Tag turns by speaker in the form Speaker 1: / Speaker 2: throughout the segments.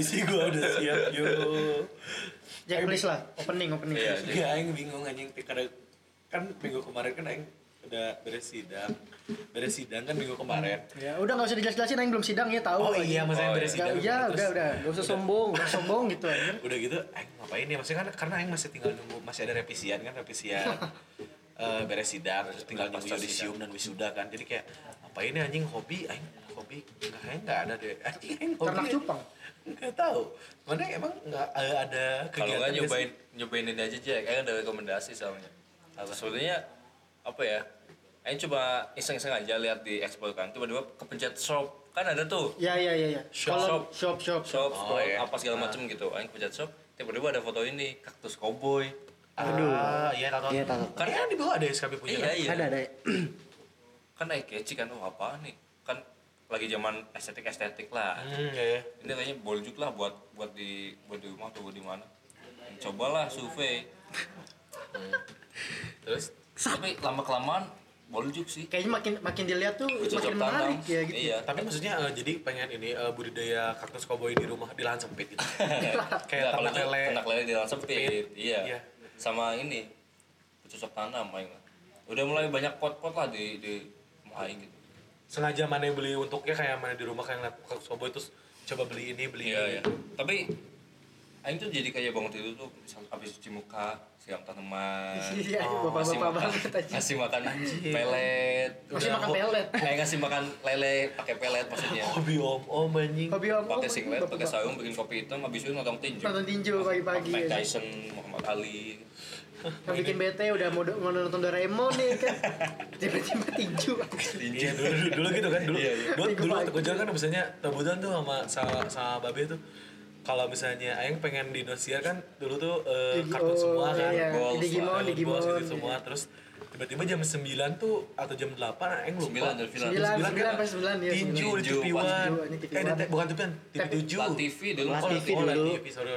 Speaker 1: sih gue udah siap yo.
Speaker 2: Jack please lah, opening opening.
Speaker 3: Iya.
Speaker 1: Ya aing bingung anjing karena kan minggu kemarin kan aing udah beres sidang. Beres sidang kan minggu kemarin.
Speaker 2: Ya, udah nggak usah dijelas-jelasin, Aing belum sidang ya
Speaker 1: Oh
Speaker 2: tahu.
Speaker 1: iya,
Speaker 2: Aing.
Speaker 1: maksudnya
Speaker 3: Oh,
Speaker 1: beres
Speaker 3: iya.
Speaker 1: sidang.
Speaker 2: Nggak- ya
Speaker 1: Terus Iya.
Speaker 2: udah udah, nggak usah sombong, nggak usah sombong gitu anjing.
Speaker 1: udah gitu aing ngapain ya maksudnya kan karena aing masih tinggal nunggu masih ada revisian kan revisian Eh, beres sidang terus tinggal nunggu yudisium dan wisuda kan jadi kayak apa ini anjing hobi aing hobi nggak aing nggak ada deh anjing aing hobi
Speaker 2: Ternak cupang.
Speaker 1: nggak tahu mana emang nggak eh, ada
Speaker 3: Kalau nggak
Speaker 1: kegiatan nggak
Speaker 3: nyobain
Speaker 1: sih?
Speaker 3: nyobain ini aja Jack, Aing ada rekomendasi soalnya. Apa sebenarnya apa ya? Aing coba iseng-iseng aja lihat di ekspor kan, tiba-tiba kepencet shop kan ada tuh
Speaker 2: Ya ya ya ya.
Speaker 3: Shop,
Speaker 2: Kolom- shop shop.
Speaker 3: shop,
Speaker 1: Oh,
Speaker 3: scroll,
Speaker 1: iya.
Speaker 3: apa segala macem gitu. Aing kepencet shop, tiba-tiba ada foto ini kaktus cowboy.
Speaker 2: Aduh.
Speaker 1: ah iya tahu
Speaker 4: Iya, tahu.
Speaker 1: kan yang di bawah ada SKP punya
Speaker 3: Iya
Speaker 1: kan?
Speaker 3: iya.
Speaker 4: Ada ada.
Speaker 3: Kan Aing catchy kan, oh apa nih? Kan lagi zaman estetik estetik lah.
Speaker 1: hmm iya iya.
Speaker 3: ini kayaknya boljuk lah buat buat di buat di rumah atau buat di mana cobalah survei terus tapi lama kelamaan boljuk sih
Speaker 2: Kayaknya makin makin dilihat tuh makin
Speaker 3: Bercocok tanam.
Speaker 2: menarik ya gitu.
Speaker 3: iya
Speaker 1: tapi maksudnya eh, jadi pengen ini eh, budidaya kaktus koboi di rumah di lahan sempit gitu kayak
Speaker 3: Nah, kalau
Speaker 1: ternak
Speaker 3: itu
Speaker 1: lele.
Speaker 3: ternak lele di dalam sempit iya
Speaker 1: Iya.
Speaker 3: sama ini bercocok tanam main lah. udah mulai banyak pot-pot lah di di rumah aing gitu
Speaker 1: sengaja mana yang beli untuknya kayak mana di rumah kayak ngeliat kaktus koboi terus coba beli ini beli ini
Speaker 3: iya iya tapi aing tuh jadi kayak bangun tidur tuh misal habis cuci muka siram tanaman
Speaker 2: Iya,
Speaker 1: Oh,
Speaker 3: Masih
Speaker 2: bapak-bapak
Speaker 3: makan-
Speaker 2: banget aja.
Speaker 3: Ngasih makan pelet.
Speaker 2: Ngasih
Speaker 3: Udah,
Speaker 2: makan
Speaker 3: ho-
Speaker 2: pelet.
Speaker 3: Kayak ngasih makan lele pakai pelet maksudnya.
Speaker 1: hobi om om anjing
Speaker 2: Hobi om.
Speaker 3: Pakai
Speaker 2: om,
Speaker 3: singlet,
Speaker 2: bapak-bapak.
Speaker 3: pakai sarung, bikin kopi hitam, habis itu nonton tinju.
Speaker 2: Nonton tinju pagi-pagi
Speaker 3: Mike
Speaker 2: aja.
Speaker 3: Tyson, Muhammad Ali.
Speaker 2: Yang bikin bete udah mau, mau nonton Doraemon ya kan. Tiba-tiba tinju.
Speaker 1: Iya dulu, dulu dulu gitu kan dulu
Speaker 3: Iya, iya.
Speaker 1: dulu,
Speaker 2: Minggu
Speaker 1: dulu
Speaker 2: pagi.
Speaker 1: waktu gue jalan kan misalnya rebutan tuh sama sama, sama babe tuh kalau misalnya Aing pengen di Indonesia kan dulu tuh eh,
Speaker 2: Yu-Gi-Oh,
Speaker 1: kartun semua kan
Speaker 2: iya.
Speaker 3: Balls,
Speaker 1: Dragon
Speaker 2: Digimon,
Speaker 1: Balls
Speaker 2: Digimon.
Speaker 1: gitu semua terus tiba-tiba jam 9 tuh atau jam 8 Aing lupa
Speaker 3: Sembilan,
Speaker 2: Sembilan,
Speaker 3: jam sembilan.
Speaker 1: Sembilan
Speaker 2: sembilan
Speaker 1: kan?
Speaker 2: pas sembilan ya.
Speaker 1: tinju
Speaker 2: sembilan.
Speaker 1: di
Speaker 3: Tinju,
Speaker 1: tipiwan
Speaker 2: pas tinju, ini
Speaker 1: eh
Speaker 2: tipiwan.
Speaker 1: di- bukan tipiwan tipi
Speaker 2: Tapi-
Speaker 1: tujuh
Speaker 3: La TV dulu.
Speaker 4: La
Speaker 1: Oh,
Speaker 4: TV
Speaker 1: oh, La
Speaker 4: dulu.
Speaker 1: TV, sorry.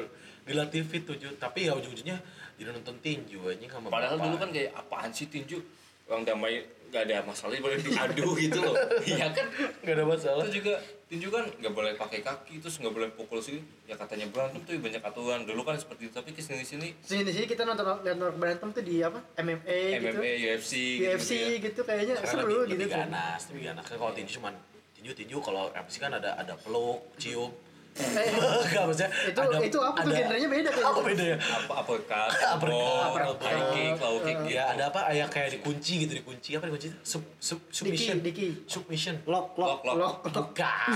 Speaker 1: di La TV tujuh tapi ya ujung-ujungnya jadi nonton tinju anjing sama
Speaker 3: Padahal
Speaker 1: bapak.
Speaker 3: dulu kan kayak apaan sih tinju? Orang damai gak ada masalah, boleh diadu gitu loh. Iya kan?
Speaker 1: nggak ada masalah
Speaker 3: Itu juga tinju kan nggak boleh pakai kaki, terus nggak boleh pukul sini. Ya katanya berantem tuh banyak aturan. Dulu kan seperti itu, tapi kesini sini
Speaker 2: Sini di sini kita nonton lihat orang berantem tuh di apa? MMA, gitu.
Speaker 3: MMA, UFC,
Speaker 2: UFC
Speaker 3: gitu-gitu ya.
Speaker 2: gitu kayaknya
Speaker 1: Karena
Speaker 2: seru
Speaker 1: lebih,
Speaker 2: gitu.
Speaker 1: lebih ganas, lebih ganas. Kan kalau tinju cuman tinju tinju kalau MC kan ada ada peluk, cium.
Speaker 2: Eh,
Speaker 1: Enggak maksudnya.
Speaker 2: itu itu apa tuh genrenya beda kayaknya.
Speaker 1: Apa beda ya?
Speaker 3: apa uppercut,
Speaker 1: Uppercut,
Speaker 3: elbow,
Speaker 1: uppercut.
Speaker 3: high kick, low kick
Speaker 1: Ya ada apa kayak kayak dikunci gitu dikunci apa dikunci sub, sub, submission
Speaker 2: Diki.
Speaker 1: submission
Speaker 4: Lock lock.
Speaker 3: Lock, lock.
Speaker 2: Lock.
Speaker 1: bukan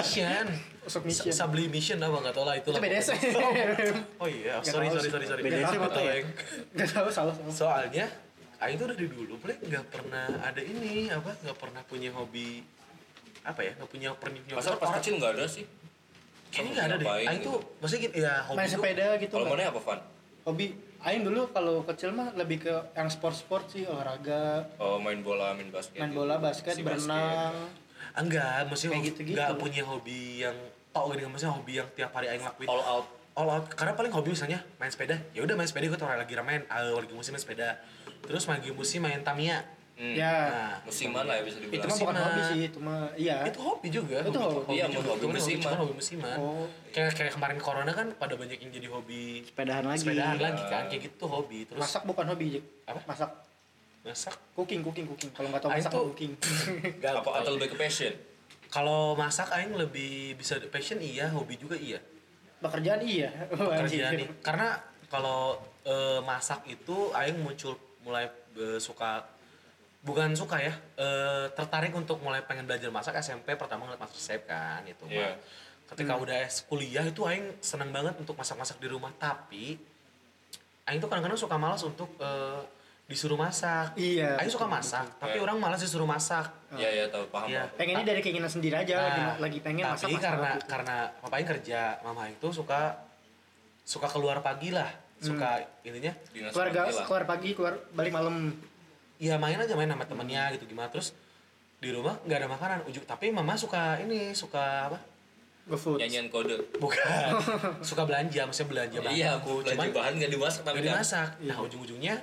Speaker 1: submission
Speaker 2: Oh, Submission.
Speaker 1: Sub- sublimation apa nggak tau lah itu
Speaker 2: Itu
Speaker 1: lah
Speaker 2: BDSM.
Speaker 1: pokoknya. oh iya
Speaker 2: Nggak
Speaker 1: sorry
Speaker 2: tahu
Speaker 1: sorry
Speaker 2: sih.
Speaker 1: sorry sorry
Speaker 4: BDSM apa tuh ya?
Speaker 2: Gak tahu salah salah.
Speaker 1: soalnya Aing tuh dari dulu boleh nggak pernah ada ini apa nggak pernah punya hobi apa ya nggak punya pernah
Speaker 3: Masa pas kecil nggak ada sih?
Speaker 1: kayaknya nggak ada deh
Speaker 3: Ngapain
Speaker 1: Aing
Speaker 3: gitu?
Speaker 1: tuh maksudnya gitu ya hobi
Speaker 2: Main
Speaker 1: tuh
Speaker 2: sepeda gitu.
Speaker 3: Kalau
Speaker 2: kan.
Speaker 3: mana apa Van?
Speaker 2: Hobi Aing dulu kalau kecil mah lebih ke yang sport-sport sih olahraga,
Speaker 3: Oh, main bola, main basket.
Speaker 2: main
Speaker 3: gitu.
Speaker 2: bola, basket,
Speaker 3: Si
Speaker 2: berenang.
Speaker 1: enggak maksudnya
Speaker 2: Kayak
Speaker 1: hobi-
Speaker 2: gitu-gitu.
Speaker 1: nggak punya hobi yang tau gini maksudnya hobi yang tiap hari Aing lakuin
Speaker 3: All out.
Speaker 1: all out karena paling hobi misalnya main sepeda ya udah main sepeda gue tuh orang lagi ramen ah, lagi musim main sepeda terus lagi musim main Tamiya
Speaker 3: Hmm.
Speaker 2: Ya.
Speaker 1: nah
Speaker 3: Musiman lah ya bisa
Speaker 2: itu
Speaker 3: dibilang.
Speaker 2: mah bukan
Speaker 1: musiman.
Speaker 2: hobi sih, itu mah iya.
Speaker 1: Nah, itu hobi juga
Speaker 2: Itu hobi.
Speaker 3: Iya,
Speaker 1: juga.
Speaker 3: hobi
Speaker 1: Cuman
Speaker 3: musiman.
Speaker 1: cuman hobi musiman
Speaker 2: Oh.
Speaker 1: kayak kayak kemarin corona kan pada banyak yang jadi hobi
Speaker 4: Sepedahan lagi.
Speaker 1: sepedahan lagi
Speaker 3: Iya.
Speaker 1: kan kayak gitu hobi terus
Speaker 2: Masak bukan hobi, Jik.
Speaker 1: Apa?
Speaker 2: Masak
Speaker 1: masak
Speaker 2: cooking, cooking, cooking. Kalau nggak tahu
Speaker 1: Ah,
Speaker 2: masak
Speaker 1: itu-
Speaker 2: cooking.
Speaker 1: Nggak
Speaker 3: Apa
Speaker 1: tahu.
Speaker 3: atau lebih ke passion?
Speaker 1: kalau masak aing lebih bisa passion iya hobi juga iya
Speaker 2: Pekerjaan iya.
Speaker 1: kerjaan nih karena kalau eh, masak itu aing muncul mulai eh, suka bukan suka ya eh, tertarik untuk mulai pengen belajar masak SMP pertama ngeliat master chef kan itu mah.
Speaker 3: Iya.
Speaker 1: ketika udah S- kuliah itu aing seneng banget untuk masak-masak di rumah tapi aing tuh kadang-kadang suka malas untuk eh, disuruh masak
Speaker 2: Iya,
Speaker 1: aing suka masak tapi
Speaker 3: Kayak-
Speaker 1: orang malas disuruh masak
Speaker 3: Iya, iya, tahu paham.
Speaker 1: Iya.
Speaker 3: paham.
Speaker 2: Pengennya dari keinginan sendiri aja, lagi,
Speaker 1: Nah,
Speaker 2: lagi pengen masak
Speaker 1: tapi
Speaker 2: masak.
Speaker 1: karena karena papa yang kerja mama Aing tuh suka suka keluar pagi lah suka
Speaker 2: Hmm.
Speaker 1: ininya
Speaker 3: Dinas
Speaker 2: keluarga
Speaker 3: panti lah.
Speaker 2: keluar pagi, keluar balik malam.
Speaker 1: ya main aja main sama temennya
Speaker 2: Hmm.
Speaker 1: gitu gimana terus di rumah nggak ada makanan ujuk tapi mama suka ini suka apa
Speaker 2: GoFood.
Speaker 3: nyanyian kode.
Speaker 1: bukan suka belanja maksudnya belanja bahan
Speaker 3: Iya,
Speaker 1: aku
Speaker 3: aku
Speaker 1: cuman
Speaker 3: belanja bahan nggak dimasak
Speaker 1: nggak
Speaker 3: tapi kan dah.
Speaker 1: dimasak nah
Speaker 2: Iya.
Speaker 1: ujung-ujungnya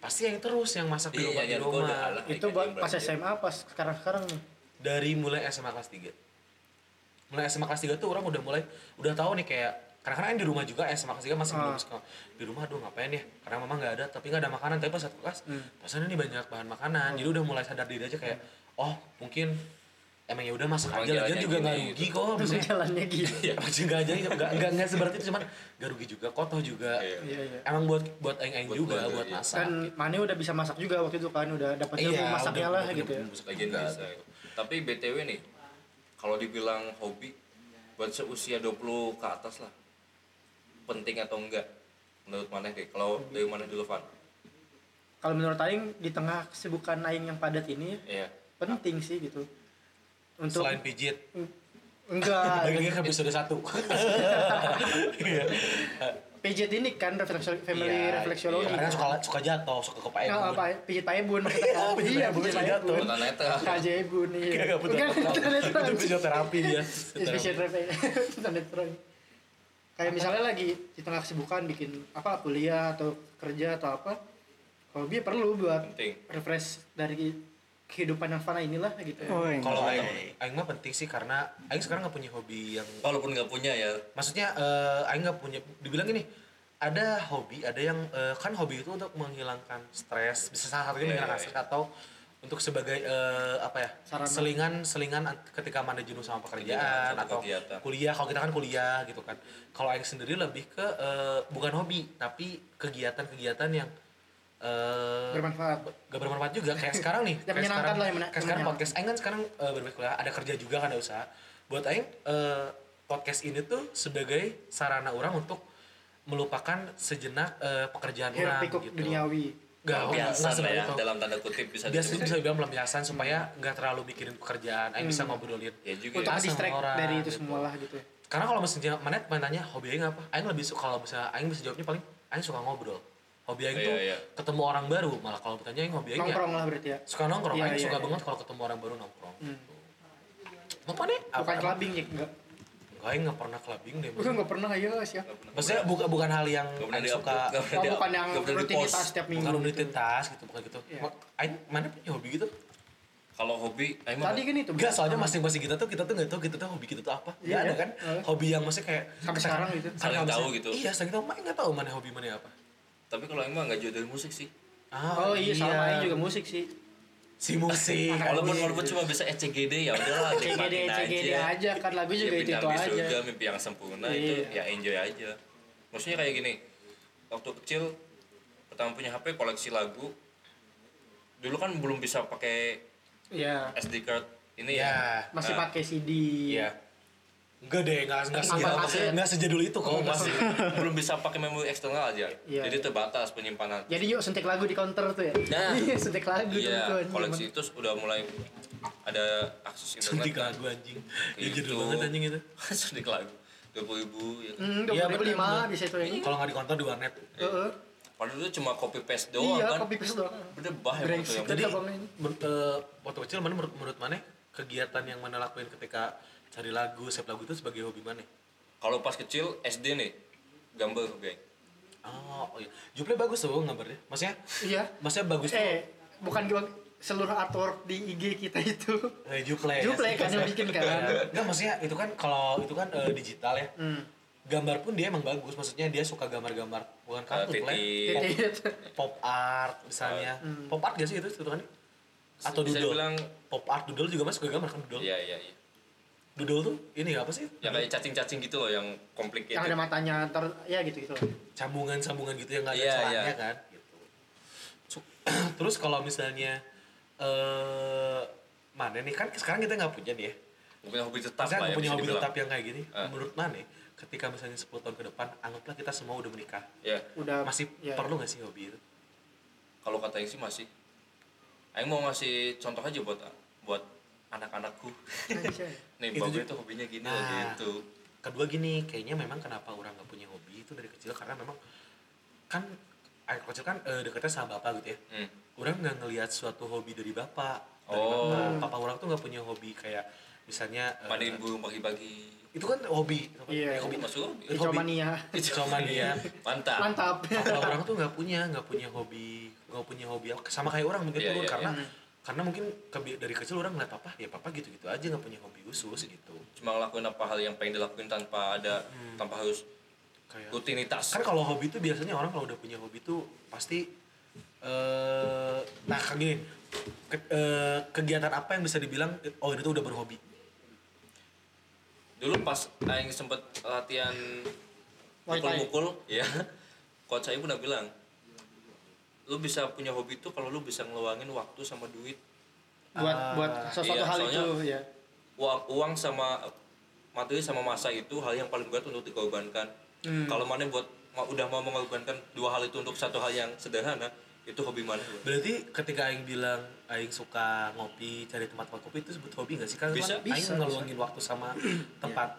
Speaker 1: pasti yang terus yang masak di
Speaker 3: Iya,
Speaker 1: rumah di
Speaker 3: nyanyian
Speaker 1: rumah
Speaker 3: kode. Alah,
Speaker 2: itu
Speaker 3: ikan
Speaker 2: buat
Speaker 3: yang
Speaker 2: pas
Speaker 3: belanja.
Speaker 2: SMA, pas sekarang-sekarang nih.
Speaker 1: dari mulai SMA kelas 3 mulai SMA kelas 3 tuh orang udah mulai udah tahu nih kayak karena kan di rumah juga SMA kelas 3 masih belum
Speaker 2: Ah.
Speaker 1: suka di rumah aduh ngapain ya karena memang nggak ada tapi nggak ada makanan tapi pas satu kelas
Speaker 2: Hmm.
Speaker 1: pesannya nih banyak bahan
Speaker 2: Ah.
Speaker 1: makanan jadi udah mulai sadar diri aja kayak
Speaker 2: Hmm.
Speaker 1: oh mungkin emang ya udah masak aja
Speaker 3: Emang
Speaker 1: lagian
Speaker 3: jalannya
Speaker 1: juga nggak
Speaker 3: gini,
Speaker 1: rugi kok
Speaker 2: Terus
Speaker 1: maksudnya
Speaker 2: jalannya gitu.
Speaker 1: ya maksudnya nggak aja nggak nggak nggak seberarti itu cuman nggak rugi juga kotor juga
Speaker 3: Iya.
Speaker 2: Iya, iya.
Speaker 1: emang buat buat aing aing
Speaker 3: Buat
Speaker 1: juga
Speaker 3: keluarga,
Speaker 1: buat
Speaker 3: iya.
Speaker 1: masak gitu. Iya,
Speaker 2: Kan Mane udah bisa masak juga waktu itu kan udah dapat ilmu masaknya
Speaker 1: udah
Speaker 2: lah
Speaker 1: punya-
Speaker 2: gitu ya.
Speaker 1: punya masak
Speaker 3: Lagian
Speaker 1: juga.
Speaker 3: bisa. Tapi BTW nih, kalau dibilang hobi buat seusia 20 ke atas lah. Penting atau enggak? Menurut mana deh? Kalau
Speaker 1: Hmm.
Speaker 3: dari mana dulu, Van?
Speaker 2: Kalau menurut aing di tengah kesibukan aing yang padat ini
Speaker 3: Iya.
Speaker 2: penting sih gitu. Untuk
Speaker 1: selain pijit
Speaker 2: enggak
Speaker 1: lagi kan episode satu Iya.
Speaker 2: pijit ini kan refleks- family
Speaker 1: Iya,
Speaker 2: refleksiologi.
Speaker 1: iya. karena suka suka jatuh suka kepaek
Speaker 2: Nah, apa pijit payebun maksud aku.
Speaker 1: pijit
Speaker 2: Iya,
Speaker 1: payebun
Speaker 2: pijit
Speaker 1: suka
Speaker 2: payebun.
Speaker 1: jatuh.
Speaker 3: Bukan neta.
Speaker 2: Kajebun iya.
Speaker 1: Kagak butuh
Speaker 2: Bukan,
Speaker 1: apa-apa.
Speaker 2: ternyata.
Speaker 1: itu fisioterapi dia
Speaker 2: Efisien Sinetron. Kayak misalnya lagi di tengah kesibukan bikin apa kuliah atau kerja atau apa, hobi perlu buat
Speaker 3: Penting.
Speaker 2: refresh dari kehidupan yang fana inilah gitu.
Speaker 1: kalau aing aing mah penting sih karena aing sekarang nggak punya hobi yang
Speaker 3: Walaupun nggak punya ya.
Speaker 1: maksudnya eh, aing nggak punya dibilang gini ada hobi ada yang eh, kan hobi itu untuk menghilangkan stres bisa salah satunya
Speaker 3: Iya,
Speaker 1: menghilangkan
Speaker 3: iya,
Speaker 1: stres atau untuk sebagai eh, apa ya
Speaker 2: Sarana.
Speaker 1: selingan selingan an- ketika mana jenuh sama pekerjaan
Speaker 3: Ketika
Speaker 1: atau
Speaker 3: kegiatan.
Speaker 1: kuliah kalau kita kan kuliah gitu kan kalau aing sendiri lebih ke eh, bukan hobi tapi kegiatan-kegiatan yang eh,
Speaker 2: Bermanfaat.
Speaker 1: gak bermanfaat juga kayak sekarang nih
Speaker 2: Ya,
Speaker 1: kayak
Speaker 2: menyenangkan
Speaker 1: sekarang,
Speaker 2: lah yang mena-
Speaker 1: kayak sekarang
Speaker 2: menyenangkan.
Speaker 1: podcast Aing kan sekarang eh, berbeda kuliah ada kerja juga kan ada usaha buat Aing eh, podcast ini tuh sebagai sarana orang untuk melupakan sejenak eh, pekerjaan
Speaker 2: Hiruk
Speaker 1: orang
Speaker 2: pikuk
Speaker 1: gitu
Speaker 2: duniawi.
Speaker 1: gak biasa
Speaker 3: Pelampiasan lah ya.
Speaker 1: itu
Speaker 3: Dalam tanda kutip bisa
Speaker 1: biasanya
Speaker 3: disebut.
Speaker 1: bisa bilang pelampiasan supaya nggak terlalu mikirin pekerjaan Aing bisa ngobrolin
Speaker 3: Ya
Speaker 2: Hmm.
Speaker 3: juga
Speaker 2: Untuk
Speaker 3: ya.
Speaker 1: Sama
Speaker 2: distract
Speaker 1: orang,
Speaker 2: dari itu
Speaker 1: gitu.
Speaker 2: semualah gitu.
Speaker 1: karena kalau misalnya mana mana tanya hobi aing apa aing lebih suka kalau bisa aing bisa jawabnya paling aing suka ngobrol hobi aing
Speaker 3: Iya,
Speaker 1: tuh
Speaker 3: iya.
Speaker 1: ketemu orang baru malah kalau ditanya aing hobi aing ya
Speaker 2: Nongkrong lah berarti ya.
Speaker 1: suka nongkrong
Speaker 2: Iya,
Speaker 1: aing
Speaker 2: iya,
Speaker 1: suka
Speaker 2: iya.
Speaker 1: banget kalau ketemu orang baru nongkrong
Speaker 2: Hmm.
Speaker 1: mau apa nih
Speaker 2: Bukan
Speaker 1: Apa-
Speaker 2: clubbing ya enggak.
Speaker 1: Enggak, aing nggak pernah clubbing deh.
Speaker 2: Gue nggak pernah ya siap.
Speaker 1: Maksudnya bukan bukan hal yang
Speaker 3: Nggak pernah
Speaker 1: aing
Speaker 3: di-upload,
Speaker 1: suka
Speaker 3: nggak pernah
Speaker 2: Oh,
Speaker 3: di-
Speaker 2: bukan yang
Speaker 3: nggak pernah di-post.
Speaker 2: rutinitas setiap
Speaker 1: bukan
Speaker 2: minggu. gitu.
Speaker 1: rutinitas gitu bukan gitu.
Speaker 2: Iya.
Speaker 1: Ma- Aing mana punya hobi gitu?
Speaker 3: Kalau hobi, emang
Speaker 2: Tadi kan itu.
Speaker 1: Enggak, soalnya masing-masing kita tuh kita tuh nggak tahu kita tuh hobi kita tuh apa.
Speaker 2: Iya,
Speaker 1: Iya ada
Speaker 2: iya.
Speaker 1: kan
Speaker 2: Iya.
Speaker 1: hobi yang maksudnya kayak
Speaker 2: Sampai sekarang gitu.
Speaker 1: Karena
Speaker 3: Saling
Speaker 1: kalau
Speaker 3: tahu
Speaker 1: misalnya-
Speaker 3: gitu.
Speaker 1: Iya, saling tahu. Mana nggak tahu mana hobi mana apa. Ah,
Speaker 3: tapi kalau emang nggak jauh dari musik sih.
Speaker 2: Oh iya, sama aing juga musik sih.
Speaker 1: Si musik.
Speaker 3: Walaupun
Speaker 2: iya.
Speaker 3: walaupun cuma bisa ECGD ya udahlah
Speaker 2: CGD
Speaker 3: nikmatin
Speaker 2: CGD aja kan lagu
Speaker 1: Iya,
Speaker 2: juga
Speaker 3: ya,
Speaker 2: itu itu
Speaker 3: bintang di
Speaker 2: aja.
Speaker 3: surga, mimpi yang sempurna
Speaker 2: Iya.
Speaker 3: itu ya enjoy aja maksudnya kayak gini waktu kecil pertama punya HP koleksi lagu dulu kan belum bisa pakai
Speaker 2: Iya.
Speaker 3: SD card ini
Speaker 1: Iya.
Speaker 3: ya
Speaker 2: Masih
Speaker 3: Nah,
Speaker 2: pakai CD.
Speaker 1: Iya. Enggak deh, enggak enggak
Speaker 2: Apa Oh,
Speaker 1: sejadul,
Speaker 2: kaset?
Speaker 1: enggak sejadul itu kok masih.
Speaker 3: belum bisa pakai memori eksternal aja
Speaker 2: Iya,
Speaker 3: jadi
Speaker 2: iya.
Speaker 3: terbatas penyimpanan
Speaker 2: Jadi yuk suntik lagu di counter tuh ya.
Speaker 3: Nah.
Speaker 2: Iya, suntik lagu tuh,
Speaker 3: iya
Speaker 2: anjing.
Speaker 3: koleksi itu udah mulai ada akses internet
Speaker 1: Suntik
Speaker 3: kan
Speaker 1: lagu anjing.
Speaker 3: Kayak
Speaker 2: Iya,
Speaker 1: Ya jadul
Speaker 3: gitu.
Speaker 1: banget anjing itu.
Speaker 3: suntik lagu dua puluh ribu ya kan.
Speaker 2: Hmm,
Speaker 1: Iya,
Speaker 2: dua puluh lima
Speaker 1: bener.
Speaker 2: bisa itu ya.
Speaker 3: Iya.
Speaker 1: Kalau nggak di kantor di warnet.
Speaker 2: Heeh.
Speaker 3: padahal itu cuma copy paste doang
Speaker 2: Iya,
Speaker 3: kan
Speaker 2: copy paste doang.
Speaker 3: bener bah ya
Speaker 2: Brengsek.
Speaker 3: foto yang
Speaker 1: Jadi
Speaker 2: Kita bangun ini.
Speaker 1: men- eh, waktu kecil mana menurut, menurut mana kegiatan yang mana lakuin ketika cari lagu, save lagu itu sebagai hobi mana?
Speaker 3: Kalau pas kecil SD nih gambar gue.
Speaker 1: Oh, oh iya. Juple bagus tuh gambarnya. Maksudnya?
Speaker 2: Iya.
Speaker 1: Maksudnya bagus tuh.
Speaker 2: Eh, bukan gua seluruh artwork di IG kita itu.
Speaker 1: Eh, Juple.
Speaker 2: Juple kan yang bikin kan.
Speaker 1: Enggak, maksudnya itu kan kalau itu kan eh, digital ya.
Speaker 2: Hmm.
Speaker 1: Gambar pun dia emang bagus, maksudnya dia suka gambar-gambar bukan
Speaker 2: Eh,
Speaker 3: Uh,
Speaker 1: kartu, Ple.
Speaker 3: titik.
Speaker 2: Jadi itu.
Speaker 3: Iya,
Speaker 1: Pop art misalnya.
Speaker 2: Hmm.
Speaker 1: Pop art gak sih itu sebutannya? Atau
Speaker 3: Bisa
Speaker 1: doodle.
Speaker 3: dibilang-
Speaker 1: Pop art doodle juga mas suka gambar kan doodle.
Speaker 3: Iya iya iya.
Speaker 1: Doodle tuh ini apa sih?
Speaker 3: Yang kayak cacing-cacing gitu loh yang complicated.
Speaker 2: Yang ada matanya ntar ya gitu-gitu.
Speaker 1: sambungan-sambungan gitu yang nggak ada
Speaker 3: Iya,
Speaker 1: celahnya
Speaker 3: iya.
Speaker 1: kan gitu. Su- terus kalau misalnya eh mana nih kan sekarang kita nggak punya nih ya
Speaker 3: Bukan hobi
Speaker 1: Maksudnya
Speaker 3: tetap lah
Speaker 1: nggak
Speaker 3: ya.
Speaker 1: punya
Speaker 3: bisa
Speaker 1: hobi
Speaker 3: dibilang.
Speaker 1: tetap yang kayak gini
Speaker 3: Ah.
Speaker 1: menurut mana ketika misalnya 10 tahun ke depan anggaplah kita semua udah menikah
Speaker 3: Iya.
Speaker 2: Udah
Speaker 1: masih
Speaker 2: ya.
Speaker 1: perlu nggak sih hobi itu
Speaker 3: Kalau kata yang sih masih. Aing mau ngasih contoh aja buat buat anak-anakku.
Speaker 2: Anjay.
Speaker 3: Nih,
Speaker 1: Itu
Speaker 3: Bang
Speaker 1: Gitu juga-
Speaker 3: itu hobinya gini
Speaker 1: Nah.
Speaker 3: loh gitu.
Speaker 1: kedua gini kayaknya memang kenapa orang nggak punya hobi itu dari kecil karena memang kan anak kecil kan eh, deketnya sama bapak gitu ya
Speaker 3: Hmm.
Speaker 1: orang nggak ngelihat suatu hobi dari bapak dari
Speaker 3: Oh.
Speaker 1: bapak. papa orang tuh nggak punya hobi kayak misalnya eh,
Speaker 3: Mandiin burung pagi-pagi.
Speaker 1: itu kan hobi Ya,
Speaker 2: Iya.
Speaker 1: hobi mas
Speaker 3: Masuk hobi.
Speaker 1: Eh,
Speaker 3: Nah.
Speaker 1: hobi.
Speaker 2: Hijau mania.
Speaker 1: sama dia
Speaker 3: Mantap.
Speaker 2: Mantap.
Speaker 1: Kalau orang tuh nggak punya nggak punya hobi nggak punya hobi apa- sama kayak orang mungkin
Speaker 3: Iya,
Speaker 1: turun
Speaker 3: iya,
Speaker 1: karena
Speaker 2: iya.
Speaker 1: karena mungkin kebi- dari kecil orang ngeliat papa ya papa gitu-gitu aja nggak punya hobi khusus gitu
Speaker 3: cuma ngelakuin apa hal yang pengen dilakuin tanpa ada tanpa harus
Speaker 1: kayak
Speaker 3: rutinitas
Speaker 1: kan kalau hobi tuh biasanya orang kalau udah punya hobi tuh pasti eh nah kayak gini ke- eh, kegiatan apa yang bisa dibilang oh ini tuh udah berhobi
Speaker 3: dulu pas aing sempet latihan
Speaker 2: Muay Thai.
Speaker 3: mukul-mukul ya coach saya pernah bilang lu bisa punya hobi itu kalau lu bisa ngeluangin waktu sama duit
Speaker 2: buat
Speaker 1: Ah,
Speaker 2: buat sesuatu
Speaker 3: iya,
Speaker 2: hal
Speaker 3: soalnya-
Speaker 2: itu ya
Speaker 3: uang, uang sama materi sama masa itu hal yang paling berat untuk dikorbankan kalau mana buat ma- udah mau mengorbankan dua hal itu untuk satu hal yang sederhana itu hobi mana
Speaker 1: berarti ketika Aing bilang Aing suka ngopi cari tempat tempat kopi itu sebut hobi nggak sih kan
Speaker 3: Bisa.
Speaker 1: Aing
Speaker 2: Bisa,
Speaker 1: ngeluangin waktu sama tempat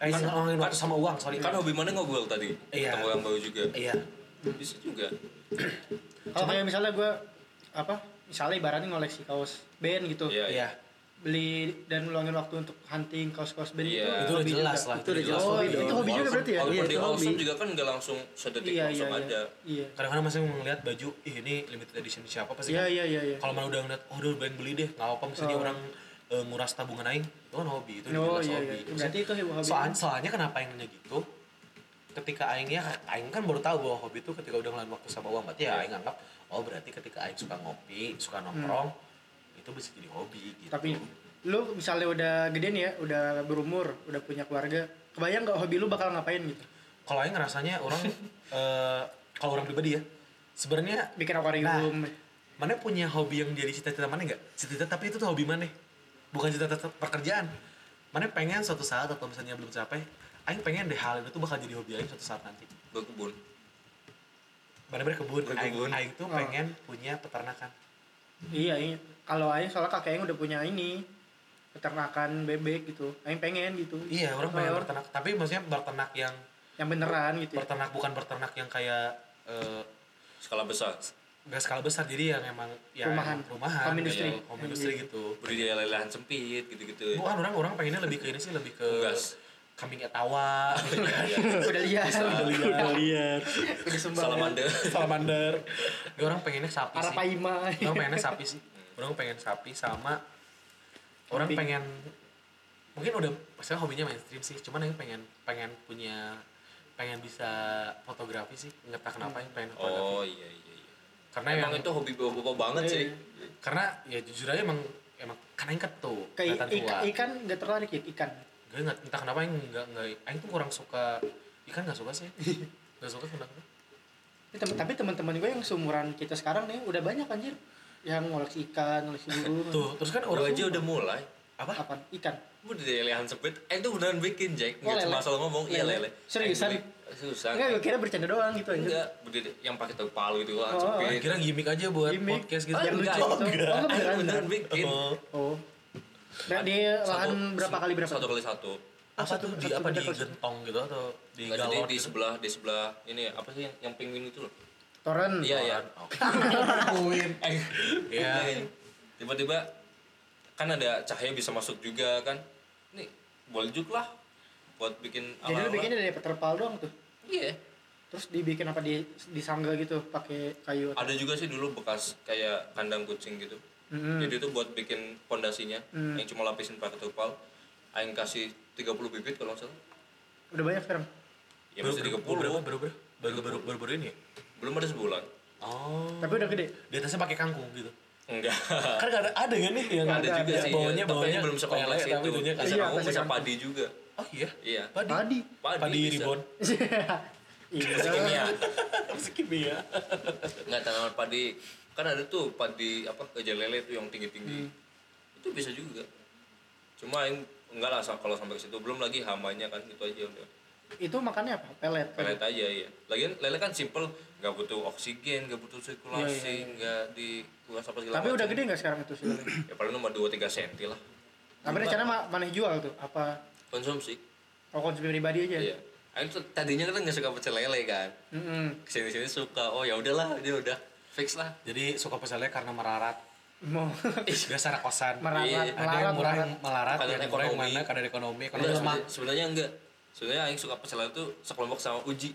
Speaker 1: Iya. Aing ngeluangin waktu sama uang sorry
Speaker 3: kan hobi mana ngobrol tadi
Speaker 1: Iya.
Speaker 3: ketemu orang baru juga
Speaker 1: iya
Speaker 3: bisa juga
Speaker 2: kalau kayak misalnya gue apa misalnya ibaratnya ngoleksi kaos band gitu
Speaker 3: Iya, iya.
Speaker 1: iya
Speaker 2: beli dan ngeluangin waktu untuk hunting kaos-kaos band
Speaker 3: Iya.
Speaker 1: itu udah
Speaker 2: hobi juga.
Speaker 1: jelas lah
Speaker 4: Itu udah jelas
Speaker 2: Oh,
Speaker 4: hobi
Speaker 2: itu
Speaker 4: dong.
Speaker 2: hobi juga
Speaker 3: Walaupun-
Speaker 2: berarti ya?
Speaker 3: walaupun
Speaker 4: Iya,
Speaker 3: di
Speaker 4: itu
Speaker 3: wholesome
Speaker 4: hobi.
Speaker 3: juga kan nggak langsung sedetik
Speaker 2: iya iya
Speaker 3: langsung
Speaker 2: iya
Speaker 3: ada
Speaker 2: iya
Speaker 1: kadang-kadang kan masih ngeliat baju ih ini limited edition siapa pasti
Speaker 2: iya
Speaker 1: kan
Speaker 2: iya iya iya
Speaker 1: kalau mana udah ngeliat oh udah pengen beli deh nggak apa misalnya
Speaker 2: Oh.
Speaker 1: orang eh, nguras tabungan aing itu kan hobi itu udah
Speaker 2: Oh,
Speaker 1: jelas
Speaker 2: iya,
Speaker 1: hobi
Speaker 2: iya. Berarti itu hobi.
Speaker 1: soalnya soalnya kenapa aing nanya gitu ketika aing ya aing kan baru tahu bahwa hobi itu ketika udah ngelaluin waktu sama uang berarti ya aing anggap oh berarti ketika aing suka ngopi suka nongkrong itu bisa jadi hobi gitu
Speaker 2: Hmm. tapi lu misalnya udah gede nih ya udah berumur udah punya keluarga kebayang nggak hobi lu bakal ngapain gitu
Speaker 1: kalau aing ngerasanya orang eh, kalau orang pribadi ya sebenarnya
Speaker 2: bikin akuarium
Speaker 1: Nah. mana punya hobi yang jadi cita-cita mana nggak cita-cita tapi itu tuh hobi mana bukan cita-cita pekerjaan mana pengen suatu saat atau misalnya belum capai Aing pengen deh hal itu bakal jadi hobi Aing suatu saat nanti
Speaker 3: berkebun
Speaker 1: mana berkebun Aing,
Speaker 3: Berkebun.
Speaker 1: Aing tuh
Speaker 2: Oh.
Speaker 1: pengen punya peternakan
Speaker 2: iya iya kalau Aing soalnya kakek Aing udah punya ini peternakan bebek gitu Aing pengen gitu
Speaker 1: iya orang pengen
Speaker 2: Oh.
Speaker 1: berternak tapi maksudnya berternak yang
Speaker 2: yang beneran gitu ya.
Speaker 1: berternak bukan berternak yang kayak eh,
Speaker 3: skala besar
Speaker 1: nggak skala besar jadi yang emang ya
Speaker 2: Rumahan.
Speaker 1: emang rumahan
Speaker 2: Home industry.
Speaker 1: kayak home industry gitu
Speaker 3: budidaya lahan sempit gitu-gitu
Speaker 1: bukan orang orang pengennya lebih ke ini sih lebih ke
Speaker 3: Unggas.
Speaker 1: kambing etawa
Speaker 3: ya,
Speaker 2: iya.
Speaker 3: ya.
Speaker 2: udah lihat udah lihat
Speaker 4: Udah lihat.
Speaker 2: udah sembah
Speaker 3: salamander
Speaker 1: salamander Gak orang pengennya sapi sih
Speaker 2: Arapaima
Speaker 1: orang pengennya sapi sih orang pengen sapi sama orang
Speaker 2: Kambing.
Speaker 1: pengen mungkin udah misalnya hobinya mainstream sih cuman yang pengen pengen punya pengen bisa fotografi sih nggak tahu kenapa yang pengen fotografi
Speaker 3: oh iya iya iya
Speaker 1: karena
Speaker 3: emang
Speaker 1: emang
Speaker 3: itu hobi bapak-bapak banget
Speaker 2: ya. Iya,
Speaker 3: sih
Speaker 2: iya.
Speaker 1: karena ya jujur aja emang emang karena yang ketu
Speaker 2: kayak
Speaker 1: kelihatan tua
Speaker 2: ikan, ikan nggak tertarik ya ikan
Speaker 1: gue nggak entah kenapa yang nggak nggak Aing tuh kurang suka ikan nggak suka sih nggak suka kenapa
Speaker 2: Ini tem- tapi teman-teman gue yang seumuran kita sekarang nih udah banyak anjir yang ngoleksi ikan ngoleksi burung
Speaker 1: tuh terus kan
Speaker 3: Gua
Speaker 1: orang
Speaker 3: aja udah mulai
Speaker 1: apa
Speaker 2: apa ikan
Speaker 3: budidaya lahan sempit eh itu beneran bikin Jack
Speaker 2: Oh,
Speaker 3: nggak cuma
Speaker 2: lele.
Speaker 3: asal ngomong iya
Speaker 2: Lele.
Speaker 3: lele
Speaker 2: Seriusan?
Speaker 3: Yang beli- seriusan
Speaker 2: enggak gue kira bercanda doang gitu aja
Speaker 3: enggak budidaya yang pakai tepung palu itu lahan
Speaker 1: Aing
Speaker 2: Oh,
Speaker 3: sempit
Speaker 1: kira gimmick aja buat
Speaker 2: Gimmick.
Speaker 1: podcast gitu
Speaker 2: Oh, yang
Speaker 3: Enggak,
Speaker 2: lucu gitu.
Speaker 1: enggak.
Speaker 2: Oh, enggak
Speaker 3: Eh,
Speaker 2: beneran.
Speaker 3: beneran bikin
Speaker 1: Oh.
Speaker 2: Oh. Nah, di lahan
Speaker 3: Satu-
Speaker 2: berapa kali berapa?
Speaker 3: satu kali satu
Speaker 1: apa tuh di
Speaker 2: satu
Speaker 1: apa di
Speaker 2: meter persegi.
Speaker 1: gentong gitu atau di
Speaker 3: Nggak, jadi
Speaker 1: galon
Speaker 3: di
Speaker 1: gitu?
Speaker 3: sebelah di sebelah ini apa sih yang, yang penguin itu loh
Speaker 2: Toren.
Speaker 3: iya iya penguin
Speaker 1: Iya.
Speaker 3: tiba-tiba kan ada cahaya bisa masuk juga kan nih boleh juga lah buat bikin
Speaker 2: Jadi lu
Speaker 3: ala-ala.
Speaker 2: bikinnya dari terpal doang tuh.
Speaker 3: iya
Speaker 2: Terus dibikin apa di disangga gitu pakai kayu.
Speaker 3: ada juga sih dulu bekas kayak kandang kucing gitu
Speaker 2: Mm-mm.
Speaker 3: jadi itu buat bikin pondasinya
Speaker 2: Hmm.
Speaker 3: yang cuma lapisin pakai terpal aing kasih 30 bibit kalau nggak salah
Speaker 2: Udah banyak sekarang.
Speaker 3: ya masih 30
Speaker 1: baru baru baru baru baru baru baru ini ya?
Speaker 3: belum ada sebulan
Speaker 1: oh
Speaker 2: Tapi udah gede.
Speaker 1: di atasnya pakai kangkung gitu
Speaker 3: enggak
Speaker 1: kan gak ada ada kan nih yang
Speaker 3: ada
Speaker 2: ada,
Speaker 3: juga
Speaker 2: ada.
Speaker 3: sih
Speaker 1: bawahnya
Speaker 3: ya. tapi
Speaker 1: bawahnya
Speaker 3: belum sekompleks
Speaker 1: lele, tapi
Speaker 3: itu
Speaker 1: itunya kan
Speaker 3: bisa
Speaker 2: Iya,
Speaker 3: ngomong
Speaker 2: pasti
Speaker 3: bisa
Speaker 2: kan.
Speaker 3: padi juga
Speaker 1: oh iya
Speaker 3: iya
Speaker 1: padi
Speaker 2: Padi.
Speaker 3: padi,
Speaker 1: padi
Speaker 3: bisa.
Speaker 1: ribon
Speaker 2: Iya.
Speaker 3: Pasti
Speaker 1: kimia
Speaker 3: kimia Enggak tanaman padi. Kan ada tuh padi apa gajah lele tuh yang tinggi-tinggi.
Speaker 2: Hmm.
Speaker 3: Itu bisa juga. Cuma yang enggak lah kalau sampai ke situ belum lagi hamanya kan gitu aja udah.
Speaker 2: Itu makannya apa? Pelet.
Speaker 3: Pelet aja ya. Lagian lele kan simple, nggak butuh oksigen, nggak butuh
Speaker 2: Iya, iya,
Speaker 3: sirkulasi, nggak dikuras apa segala
Speaker 2: Tapi udah
Speaker 3: macam.
Speaker 2: gede nggak sekarang itu sebenarnya?
Speaker 3: Ya paling cuma 2 3 cm lah
Speaker 2: Tapi rencana ma- mana jual tuh? Apa
Speaker 3: konsumsi.
Speaker 2: oh, konsumsi pribadi aja?
Speaker 3: Iya. Aku tuh tadinya kan nggak suka pecel lele kan.
Speaker 2: Mm-mm.
Speaker 3: Kesini-sini suka. Oh ya udahlah, dia udah fix lah.
Speaker 1: jadi suka peselnya karena merarat
Speaker 2: Mau
Speaker 1: biasa anak kosan
Speaker 2: merarat,
Speaker 3: Iya,
Speaker 1: ada yang murah
Speaker 2: melarat, melarat.
Speaker 1: yang melarat
Speaker 3: Kadang
Speaker 1: yang murah yang
Speaker 3: ekonomi.
Speaker 1: mana kadar ekonomi Iya. ekonomi lemah
Speaker 3: Enggak, Iya, sebenarnya- sebenarnya enggak. Sebenarnya yang suka pecel lele tuh sekelompok sama Uji.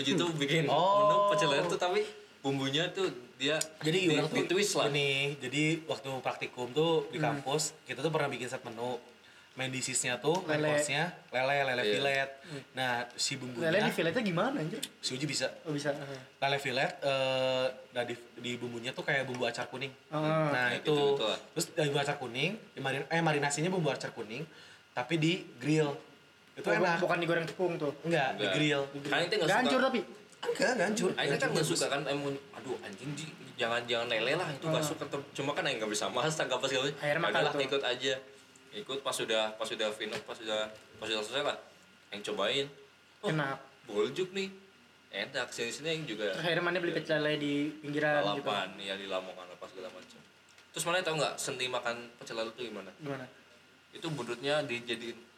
Speaker 3: Uji tuh bikin
Speaker 1: Oh.
Speaker 3: menu pecel lele tuh tapi bumbunya tuh dia
Speaker 1: jadi
Speaker 3: di,
Speaker 1: orang tuh
Speaker 3: di twist lah Hmm.
Speaker 1: Ini, jadi waktu praktikum tuh di kampus kita tuh pernah bikin set menu main dishes-nya tuh main
Speaker 2: Lele.
Speaker 1: course-nya lele lele
Speaker 3: Iya.
Speaker 1: fillet nah si bumbunya
Speaker 2: Lele di filletnya gimana anjir?
Speaker 1: si Uji bisa
Speaker 2: Oh bisa.
Speaker 1: lele fillet eh nah di, di bumbunya tuh kayak bumbu acar kuning nah
Speaker 2: Ah.
Speaker 3: Oh. Kayak
Speaker 1: itu
Speaker 3: gitu-gitu lah.
Speaker 1: terus dari bumbu acar kuning di marin- eh marinasinya bumbu acar kuning tapi di grill itu
Speaker 2: Oh, bu-
Speaker 1: enak
Speaker 2: Bukan digoreng tepung tuh.
Speaker 1: enggak di
Speaker 3: Enggak.
Speaker 1: grill
Speaker 3: Nah, Karena itu nggak
Speaker 2: Gak hancur
Speaker 3: Iya, suka.
Speaker 2: tapi.
Speaker 1: enggak enggak hancur
Speaker 3: Aing kan
Speaker 1: Hancur.
Speaker 3: nggak suka kan emang aduh anjing di jangan jangan lele lah itu
Speaker 1: Ah.
Speaker 3: nggak suka Tem- cuma kan Aing nggak bisa masak nggak pas segala macam.
Speaker 2: Akhirnya makan
Speaker 3: Padahal
Speaker 2: tuh.
Speaker 3: ikut aja ikut pas sudah pas sudah final pas sudah pas sudah selesai lah Aing cobain oh,
Speaker 2: Enak.
Speaker 3: boljuk nih enak sini sini Aing juga
Speaker 2: Terus akhirnya mana beli pecel lele di pinggiran gitu.
Speaker 3: lalapan ya di Lamongan apa segala macam terus mana tau nggak seni makan pecel lele itu gimana
Speaker 2: Gimana?
Speaker 3: itu buntutnya dijadiin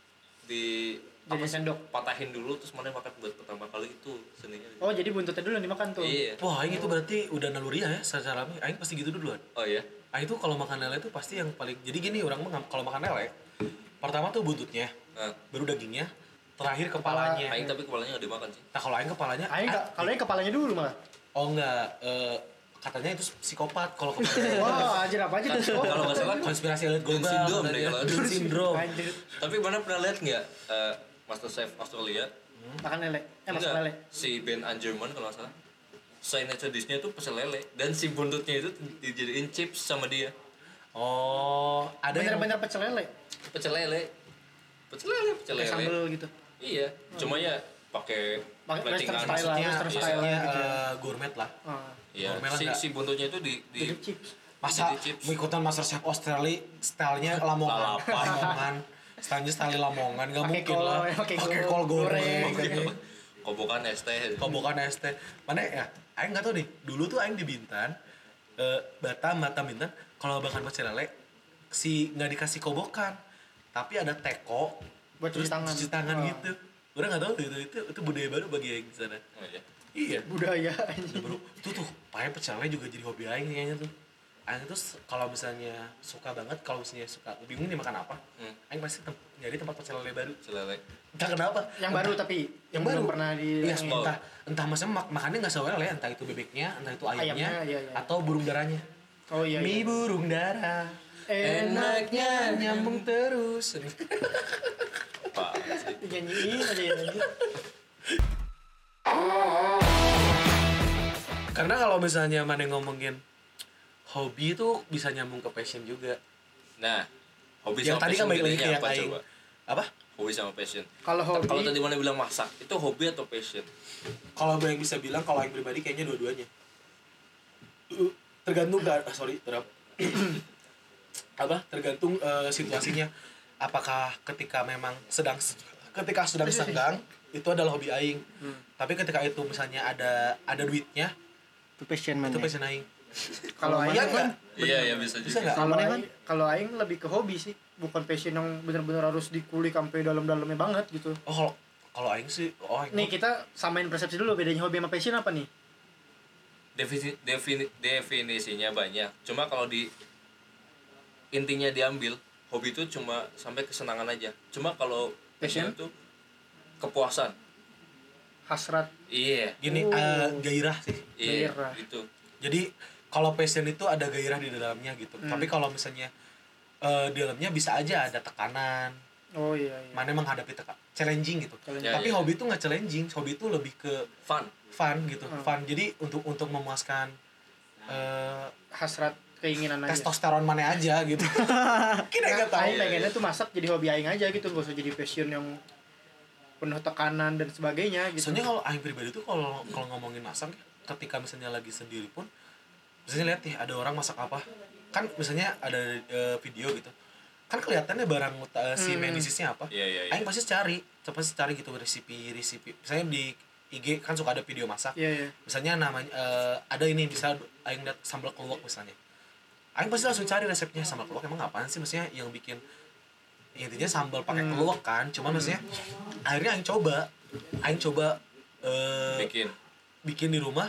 Speaker 3: di
Speaker 2: Jadi
Speaker 3: sih?
Speaker 2: sendok.
Speaker 3: patahin dulu terus mana makan buat pertama kali itu seninya
Speaker 2: Oh jadi buntutnya dulu yang dimakan tuh.
Speaker 3: iya
Speaker 1: wah aing itu berarti udah naluriah ya secara alami aing pasti gitu duluan
Speaker 3: oh iya
Speaker 1: Ah itu kalau makan lele tuh pasti yang paling jadi gini orang mah kalau makan lele pertama tuh buntutnya
Speaker 3: nah,
Speaker 1: baru dagingnya terakhir
Speaker 2: Iya.
Speaker 1: kepalanya
Speaker 3: Aing tapi kepalanya nggak dimakan sih
Speaker 1: nah kalau aing kepalanya
Speaker 2: Aing
Speaker 1: ah,
Speaker 2: nggak- kalau aing kepalanya dulu malah.
Speaker 1: oh enggak eh, katanya itu psikopat kalau kepalanya
Speaker 2: Wah, anjir apa aja tuh?
Speaker 3: Kan- kalau nggak salah kon-
Speaker 1: konspirasi elit
Speaker 3: Down
Speaker 1: global
Speaker 3: syndrome
Speaker 1: katanya.
Speaker 3: deh kalau-
Speaker 1: Down syndrome
Speaker 2: Anjir,
Speaker 3: tapi mana pernah lihat nggak eh, Master Chef Australia
Speaker 2: makan lele. Eh, masak
Speaker 3: Nggak.
Speaker 2: lele.
Speaker 3: si Ben Angerman kalau nggak salah signature dish-nya itu pecel lele dan si buntutnya itu dijadiin chips sama dia
Speaker 1: oh ada yang
Speaker 2: Bener-bener pecel lele.
Speaker 3: pecel lele pecel lele pecel
Speaker 2: Kayak
Speaker 3: lele
Speaker 2: sambel gitu.
Speaker 3: iya cuma ya pakai
Speaker 2: Pakai western
Speaker 3: platingan.
Speaker 2: style lah,
Speaker 1: maksudnya,
Speaker 2: western style
Speaker 1: maksudnya,
Speaker 2: lah gitu. ya.
Speaker 1: eh, gourmet lah
Speaker 2: Ah.
Speaker 3: Iya,
Speaker 1: Normal
Speaker 3: si,
Speaker 1: nggak?
Speaker 3: si buntutnya itu di, di
Speaker 2: Jadi chips.
Speaker 1: masa
Speaker 3: Jadi chips.
Speaker 1: mau ikutan master chef Australia stylenya lamongan
Speaker 3: Lalapan.
Speaker 1: lamongan stylenya style lamongan nggak
Speaker 2: Pakai
Speaker 1: mungkin
Speaker 2: kol,
Speaker 1: lah
Speaker 2: pakai
Speaker 1: pakai
Speaker 2: kol
Speaker 1: kol goreng,
Speaker 2: goreng. gitu ya.
Speaker 1: goreng.
Speaker 3: kobokan es teh.
Speaker 1: kobokan ST mana ya Aing nggak tahu deh dulu tuh Aing di Bintan eh, Batam Batam Bintan kalau makan pecel lele si nggak dikasih kobokan tapi ada teko
Speaker 2: Buat
Speaker 1: terus
Speaker 2: cuci tangan.
Speaker 1: cuci tangan
Speaker 2: Ah.
Speaker 1: gitu orang nggak tahu tuh, itu, itu itu budaya baru bagi Aing di sana
Speaker 3: Oh, iya.
Speaker 1: iya
Speaker 2: Budaya
Speaker 1: itu
Speaker 2: anjir.
Speaker 1: baru tuh tuh pakai pecel lele juga jadi hobi Aing kayaknya tuh Aing tuh s- kalau misalnya suka banget kalau misalnya suka bingung nih makan apa
Speaker 3: Hmm.
Speaker 1: Aing pasti tem- nyari tempat pecel lele baru
Speaker 3: Celele.
Speaker 1: entah kenapa
Speaker 2: Yang baru tapi
Speaker 1: yang
Speaker 2: belum
Speaker 1: baru
Speaker 2: pernah di
Speaker 1: Iya,
Speaker 2: ini.
Speaker 3: Wow.
Speaker 1: entah entah maksudnya mak makannya nggak sewel ya entah itu bebeknya entah itu ayamnya,
Speaker 2: Ayamnya, iya, iya.
Speaker 1: atau burung darahnya
Speaker 2: Oh iya.
Speaker 1: mie
Speaker 2: iya.
Speaker 1: burung darah enaknya
Speaker 2: Enaknya.
Speaker 1: nyambung terus
Speaker 3: Apa? sih?
Speaker 2: Nyanyiin aja ya anjir.
Speaker 1: karena kalau misalnya mana ngomongin hobi itu bisa nyambung ke passion juga
Speaker 3: Nah, hobi
Speaker 1: yang
Speaker 3: sama
Speaker 1: tadi
Speaker 3: passion
Speaker 1: kan balik lagi ke
Speaker 3: bedanya
Speaker 1: yang
Speaker 3: apa
Speaker 1: lain
Speaker 3: coba?
Speaker 1: apa
Speaker 3: Hobi sama passion.
Speaker 2: Kalau hobi
Speaker 3: Kalau tadi mana bilang masak, itu hobi atau passion?
Speaker 1: kalau gue yang bisa bilang kalau yang pribadi kayaknya dua-duanya Uh, tergantung ga- ah, sorry terap apa tergantung eh, situasinya apakah ketika memang sedang ketika
Speaker 2: Iya,
Speaker 1: sedang senggang itu adalah hobi aing
Speaker 2: Hmm.
Speaker 1: tapi ketika itu misalnya ada ada duitnya
Speaker 2: itu
Speaker 1: itu
Speaker 2: passion
Speaker 4: ya.
Speaker 2: mana?
Speaker 1: passion aing
Speaker 2: Kalau
Speaker 1: Iya
Speaker 2: aing
Speaker 1: nggak?
Speaker 2: kan
Speaker 3: Iya, ya bisa
Speaker 1: Bisa
Speaker 3: juga.
Speaker 1: nggak?
Speaker 2: kalau
Speaker 1: Mana kan?
Speaker 2: aing kalau aing lebih ke hobi sih, bukan passion yang bener-bener harus dikulik sampai dalam-dalamnya banget gitu.
Speaker 1: oh kalau kalau aing sih oh aing
Speaker 2: Nih kita samain persepsi dulu bedanya hobi sama passion apa nih?
Speaker 3: Defisi, defini- definisinya banyak. Cuma kalau di intinya diambil, hobi itu cuma sampai kesenangan aja. Cuma kalau
Speaker 2: Passion?
Speaker 3: itu kepuasan.
Speaker 2: Hasrat
Speaker 3: Iya.
Speaker 1: gini
Speaker 2: Oh.
Speaker 1: eh, gairah sih
Speaker 3: Iya,
Speaker 2: Gairah.
Speaker 3: gitu.
Speaker 1: jadi kalau passion itu ada gairah di dalamnya gitu tapi kalau misalnya eh, di dalamnya bisa aja ada tekanan
Speaker 2: Oh iya iya.
Speaker 1: mana menghadapi teka challenging gitu
Speaker 2: Challenging.
Speaker 1: tapi
Speaker 3: Ya, ya.
Speaker 1: hobi itu nggak challenging hobi itu lebih ke
Speaker 3: Fun.
Speaker 1: fun gitu
Speaker 2: Hmm.
Speaker 1: fun jadi untuk untuk memuaskan eh,
Speaker 2: Hasrat keinginan aja.
Speaker 1: testosteron mana aja gitu kita nggak tahu
Speaker 2: Aing pengennya tuh masak jadi hobi aing aja gitu, gak usah jadi passion yang penuh tekanan dan sebagainya gitu.
Speaker 1: soalnya kalau aing pribadi tuh kalau kalau ngomongin masak ketika misalnya lagi sendiri pun misalnya lihat nih ada orang masak apa kan misalnya ada eh, video gitu kan kelihatannya barang uta- si main dishes-nya apa
Speaker 3: Iya, iya, iya.
Speaker 1: aing pasti cari pasti cari gitu resipi resipi misalnya di IG kan suka ada video masak
Speaker 2: Iya iya.
Speaker 1: misalnya namanya eh, ada ini bisa aing liat sambal keluak misalnya aing pasti langsung cari resepnya sambal keluak emang apaan sih maksudnya yang bikin ya intinya sambal pakai keluak kan cuman maksudnya akhirnya aing coba aing coba eh,
Speaker 3: Bikin.
Speaker 1: bikin di rumah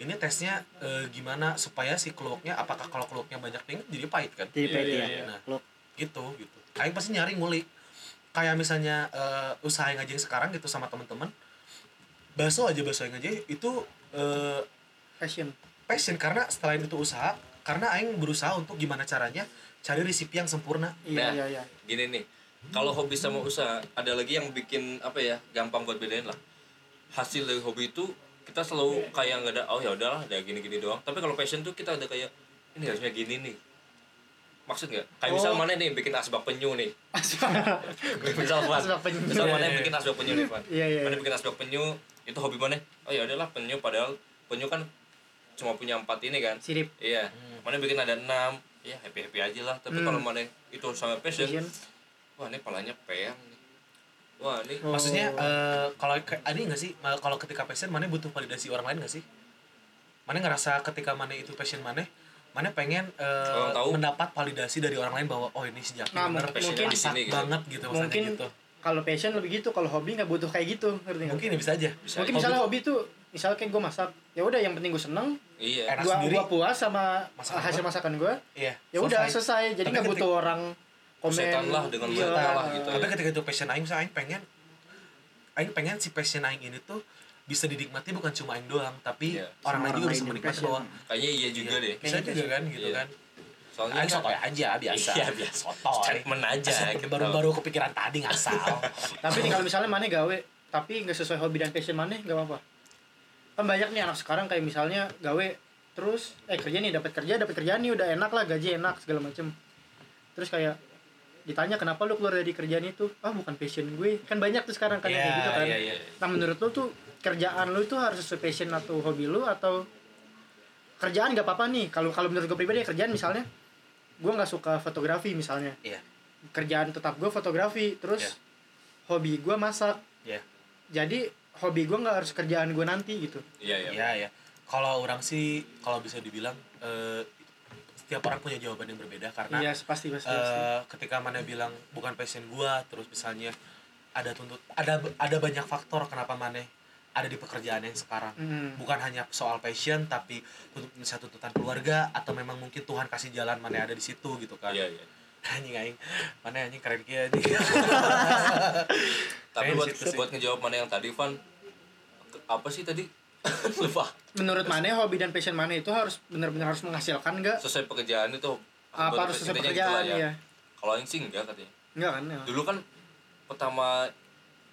Speaker 1: ini tesnya eh, gimana supaya si keluaknya apakah kalau keluaknya banyak banget jadi pahit kan
Speaker 2: Jadi
Speaker 3: Iya,
Speaker 2: pahit
Speaker 3: iya,
Speaker 2: ya.
Speaker 3: iya.
Speaker 1: Nah.
Speaker 2: Lo-
Speaker 1: gitu gitu aing pasti nyari ngulik kayak misalnya eh, usaha yang ngajeng sekarang gitu sama teman-teman bakso aja bakso yang ngajeng itu eh,
Speaker 2: passion
Speaker 1: passion karena selain itu usaha karena aing berusaha untuk gimana caranya cari resep yang sempurna
Speaker 2: iya
Speaker 3: Nah.
Speaker 2: iya iya
Speaker 3: gini nih kalau hobi sama usaha ada lagi yang bikin apa ya gampang buat bedain lah hasil dari hobi itu kita selalu kayak nggak ada oh ya udahlah ada gini-gini doang tapi kalau passion tuh kita ada kayak ini harusnya gini nih maksud nggak kayak misal
Speaker 2: Oh.
Speaker 3: mana nih bikin asbak penyu nih misal Fat.
Speaker 2: Asbak penyu.
Speaker 3: misal mana
Speaker 1: Iya, iya.
Speaker 3: bikin asbak penyu nih Fat.
Speaker 2: Iya, iya,
Speaker 3: mana
Speaker 2: iya.
Speaker 3: bikin asbak penyu itu hobi mana oh ya udahlah penyu padahal penyu kan cuma punya empat ini kan
Speaker 2: sirip
Speaker 3: iya mana bikin ada enam ya happy happy aja lah tapi
Speaker 2: Hmm.
Speaker 3: kalau mana itu sama passion
Speaker 2: passion
Speaker 3: Wah ini palanya peyang nih. Wah ini
Speaker 2: Oh.
Speaker 1: maksudnya eh, kalau ke- ada nggak sih ma- kalau ketika passion mana butuh validasi orang lain nggak sih mana ngerasa ketika mana itu passion mana mana pengen eh,
Speaker 3: Orang tahu.
Speaker 1: mendapat validasi dari orang lain bahwa oh ini sejak
Speaker 2: Nah,
Speaker 1: bener
Speaker 2: mungkin- mungkin
Speaker 3: di
Speaker 1: masak
Speaker 3: sini gitu.
Speaker 1: banget gitu maksudnya
Speaker 2: mungkin
Speaker 1: gitu
Speaker 2: kalau passion lebih gitu kalau hobi nggak butuh kayak gitu ngerti nggak
Speaker 1: mungkin ya bisa aja
Speaker 3: Bisa
Speaker 2: mungkin
Speaker 1: Hobi-
Speaker 2: misalnya hobi tuh misalnya kayak gue masak ya udah yang penting gue seneng
Speaker 3: iya.
Speaker 1: Enak
Speaker 2: gua,
Speaker 1: sendiri.
Speaker 2: gua puas sama
Speaker 1: Masakan
Speaker 2: hasil
Speaker 1: gua.
Speaker 2: masakan gue
Speaker 1: iya
Speaker 2: ya udah selesai jadi
Speaker 1: Tapi
Speaker 2: nggak
Speaker 1: ketika-
Speaker 2: butuh orang komen
Speaker 3: Setan lah dengan
Speaker 2: Iya.
Speaker 3: mereka lah gitu.
Speaker 1: tapi ketika itu passion aing misalnya aing pengen aing pengen si passion aing ini tuh bisa dinikmati bukan cuma aing doang tapi
Speaker 3: Iya.
Speaker 1: orang
Speaker 2: Sama
Speaker 1: lain
Speaker 2: orang
Speaker 1: juga
Speaker 2: lain
Speaker 1: bisa
Speaker 2: yang
Speaker 1: menikmati
Speaker 2: passion.
Speaker 1: bahwa
Speaker 3: Kayaknya iya juga
Speaker 1: iya,
Speaker 3: deh.
Speaker 1: bisa juga kan gitu
Speaker 3: Iya.
Speaker 1: kan ya?
Speaker 3: Soalnya
Speaker 1: aing
Speaker 3: kan
Speaker 1: sotoy aja biasa
Speaker 3: Iya, biasa.
Speaker 1: sotoy
Speaker 3: statement aja. gitu.
Speaker 1: baru-baru kepikiran tadi ngasal
Speaker 2: tapi nih kalau misalnya mana gawe tapi nggak sesuai hobi dan passion mana nggak apa-apa kan banyak nih anak sekarang kayak misalnya gawe terus eh kerja nih dapat kerja dapat kerjaan nih udah enak lah gaji enak segala macem terus kayak ditanya kenapa lu keluar dari kerjaan itu ah bukan passion gue kan banyak tuh sekarang kan yang kayak
Speaker 1: Iya,
Speaker 2: gitu kan
Speaker 1: iya,
Speaker 3: iya.
Speaker 2: nah menurut lu tuh kerjaan lu tuh harus sesuai passion atau hobi lu atau kerjaan nggak apa-apa nih kalau kalau menurut gue pribadi ya kerjaan misalnya gue nggak suka fotografi misalnya
Speaker 1: iya
Speaker 2: kerjaan tetap gue fotografi terus
Speaker 1: Iya.
Speaker 2: hobi gue masak
Speaker 1: iya
Speaker 2: jadi hobi gue nggak harus kerjaan gue nanti gitu
Speaker 3: Iya iya.
Speaker 1: iya iya kalau orang sih kalau bisa dibilang eh, setiap orang punya jawaban yang berbeda karena
Speaker 2: iya pasti pasti, pasti.
Speaker 1: eh ketika mana bilang bukan passion gua terus misalnya ada tuntut ada ada banyak faktor kenapa mana ada di pekerjaan yang sekarang
Speaker 2: Mm.
Speaker 1: bukan hanya soal passion tapi untuk misalnya tuntutan keluarga atau memang mungkin Tuhan kasih jalan mana ada di situ gitu kan
Speaker 3: Iya iya.
Speaker 1: anjing aing mana anjing keren kia anjing Iya,
Speaker 3: Tapi
Speaker 1: Kayaknya
Speaker 3: buat
Speaker 1: di situ sih.
Speaker 3: buat ngejawab mana yang tadi Van ke- apa sih tadi? Lupa.
Speaker 2: menurut mana hobi dan passion mana itu harus benar-benar harus menghasilkan nggak
Speaker 3: Sesuai pekerjaan itu
Speaker 2: apa harus sesuai
Speaker 1: gitu
Speaker 3: intinya
Speaker 2: pekerjaan
Speaker 3: gitulah
Speaker 2: ya
Speaker 3: Kalau yang sih enggak katanya.
Speaker 2: nggak kan ya.
Speaker 3: Dulu kan pertama